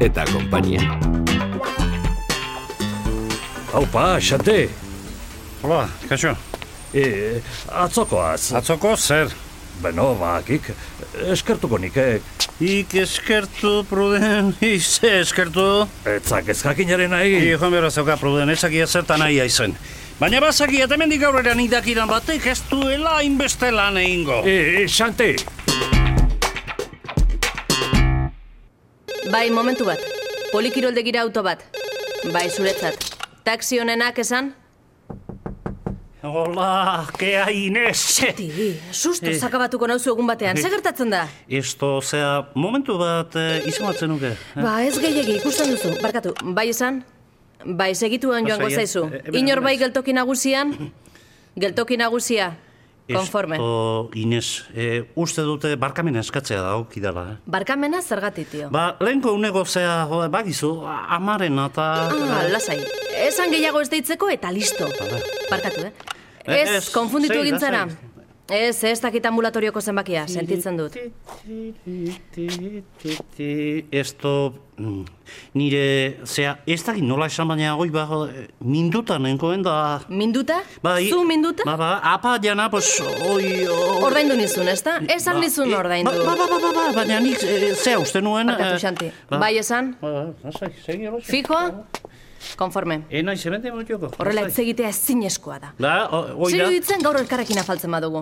eta konpainia. Haupa, xate, Hola, kaixo. e, atzokoaz, Atzoko zer? beno, bakik, eskertuko nikek, Ik Bai, eskertu, Pruden, ize eskertu. etzak ez jakinaren nahi, I, joan behar zeuka, Pruden, ezakia zertan nahi aizen. Baina bazaki eta mendik aurrera nik dakidan batek ez duela inbeste lan egingo. e, e, xante, Bai, momentu bat. Polikiroldegira auto bat. Bai, zuretzat. Taxi honenak esan? Hola, kea Inez. Ti, susto Eh. zakabatuko nauzu egun batean. Ze gertatzen da? Esto, zea, momentu bat eh, izamatzen nuke. Ba, ez gehiegi ikusten duzu. Barkatu, bai esan? Bai, segituan joango Lasai, eh, zaizu. eh, eh, Inor eh, bai eh, geltoki nagusian? Geltoki nagusia. Konforme. Esto, Inez, eh, uste dute barkamena eskatzea dagokidala, eh? Barkamena zergatik, tio. Ba, lehenko uneko zea, jo, bagizu, amaren eta... Ah, lasai. Esan gehiago ez deitzeko eta listo. Barkatu, eh? Eh, Ez, ez, konfunditu sei, egin zara. lasai. Ez, ez dakit ambulatorioko zenbakia, sentitzen dut. Esto, mm, nire, zea, ez dakit nola esan baina hoi ba, jo, eh, minduta nenkoen da... Minduta? Bai, Zu minduta? Ba, ba, apa jana, pues, oi... o- Ordaindu nizun, ezta? Esan nizun eh, ordaindu. Ba, ba, ba, ba, ba, baina nik, eh, zea, uste nuen... Barkatu, eh, Xanti. ba- Bai esan? Ba, ba, lasai, segi, lasai. Fikoa? Konforme. Eh, nahi, zementen minutioko. Horrela hitz lasai. egitea ezinezkoa da. Da, o- Bai. hoi Zer da. iruditzen gaur elkarrekin afaltzen badugu.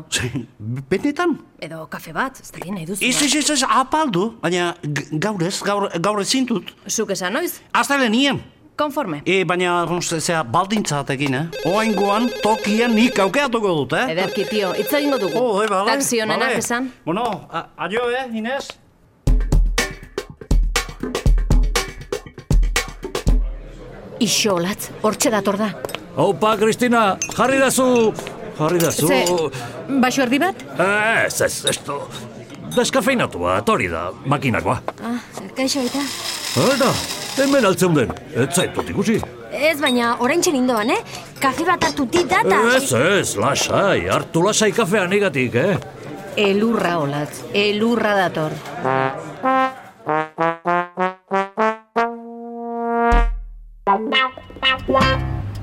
Benetan? Edo kafe bat, ez da nahi duzu. Ez, ez, ez, ez, apaldu, baina g- gaur ez, gaur, gaur ezin dut. bai. Zuk esan noiz? Azta lenien. Konforme. E, baina, honz, zea, baldintzatekin, eh? Oaingoan, tokian nik aukeatuko dut, eh? Ederki, tio, hitz egingo dugu. Oh, eh, bale, Taxi honenak bale. esan. Bueno, a- adio, eh, Inez? Ixolatz, hortxe dator da. haupa, Kristina, jarri dazu, jarri dazu, Ze, baso erdi bat? ez, ez, esto, deskafeinatua, hori da, makinakoa. Ah, kaixo eta. Eta, hemen altzen den, ez zaitut ikusi. Ez, baina orain txenindoan, eh? Kafe bat hartu dit data. Ez, ez, lasai, hartu lasai kafea negatik, eh? Elurra, olatz, elurra dator.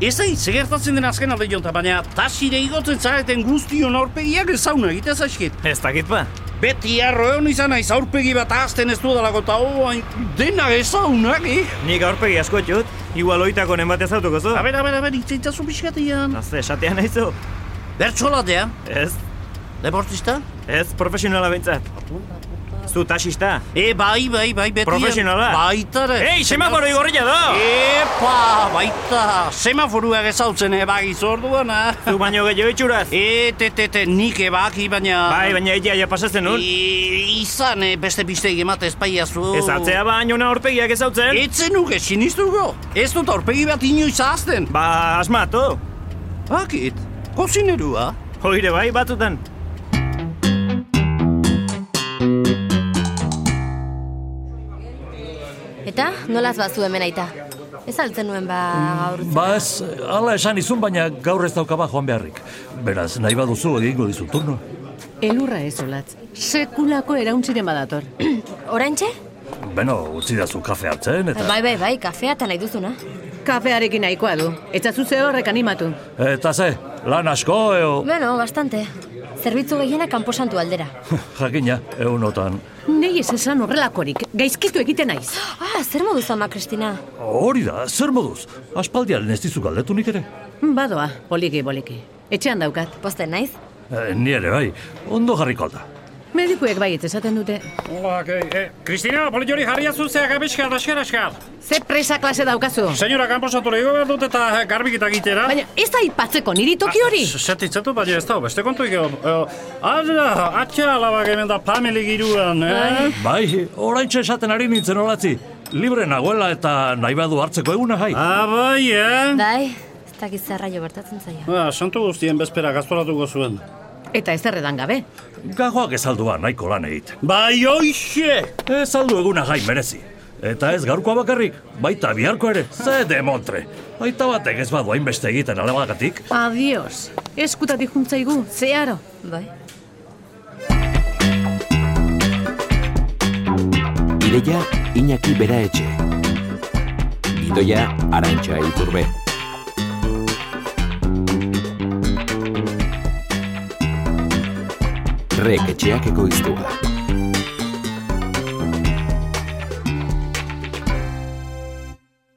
Ez da, hitz gertatzen den azken alde jonta, baina tasire igotzen zareten guztion aurpegiak ezauna egite zaizkit. Ez dakit ba? Beti arro egon izan naiz aurpegi bat azten ez dudalako eta oain dena ezaunak, eh? Nik aurpegi asko etxut, igual oitako nenbat ezautuko zu. Aber, aber, aber, itzaitzazu pixkatian. Azte, esatean naizu. Bertsolatea, Ez, deportista? ez, profesionala behintzat. Zu taxista. E, bai, bai, bai, beti... Profesionala. Baitare. Ei, semaforo igorria da! Epa, baita, semaforuak ezautzen ebagi zorduan, ah. ha? Zu baino gehiago itxuraz. E, te, te, te, nik ebaki, baina... Bai, baina egia ja pasatzen nun. I, izan, eh, beste bistei emate espaia zu... Ez atzea baino na aurpegiak ezautzen. Etzen nuke sinistruko, ez dut aurpegi bat inoiz azten. Ba, asmatu. Bakit, kozinerua? Hoire bai, batzutan. Eta, nolaz bazu hemen aita? Ez altzen nuen ba gaur. Ba ez, ala esan izun, baina gaur ez daukaba joan beharrik. Beraz, nahi baduzu egingo dizut turno. Elurra ez olatz. Sekulako erauntzire badator. Oraintxe? Beno, utzi dazu kafe hartzen, eta... Bai, bai, bai, kafea eta nahi duzuna. Kafearekin nahikoa du. Etzazu ze horrek animatu. Eta ze, lan asko, eo... Bueno, bastante. Zerbitzu gehiena kanposantu aldera. Jakina, eunotan. Nei ez esan horrelakorik, gaizkitu egiten naiz. Ah, zer modu zama, Kristina? Hori da, zer moduz? Aspaldiaren ez dizu galdetu nik ere. Badoa, poliki, poliki. Etxean daukat. Posten naiz? E, ni ere, bai, ondo jarriko da. Medikuek baiet esaten dute. Hola, que, eh, Cristina, politori jarria zuzea gabizka, askar, askar. Ze presa klase daukazu? Senyora, kanposatu lehigo behar dut eta garbikita gitera. Bai. Baina ez da ipatzeko niri toki hori? Zatitzatu, baina ez da, beste kontu eh, egon. Ara, atxea alabak hemen da pameli giruan, eh? Bai, oraintxe esaten ari nintzen olatzi. Libre nagoela eta nahi badu hartzeko eguna, jai. Ah, bai, eh? Bai, ez dakit zerraio bertatzen zaio. Ba, santu guztien bezpera gaztoratuko zuen. Eta ez erredan gabe. Gagoak ezaldua ba, nahiko lan egiten. Bai, oixe! Ezaldu eguna jai merezi. Eta ez gaurkoa bakarrik, baita biharko ere, ze demontre. Baita batek ez badu hainbeste egiten alabagatik. Adios. Eskutatik juntzaigu, zeharo. Bai. Ideia Iñaki Bera Etxe. Idoia Arantxa Iturbe. Rek etxeak ekoiztua.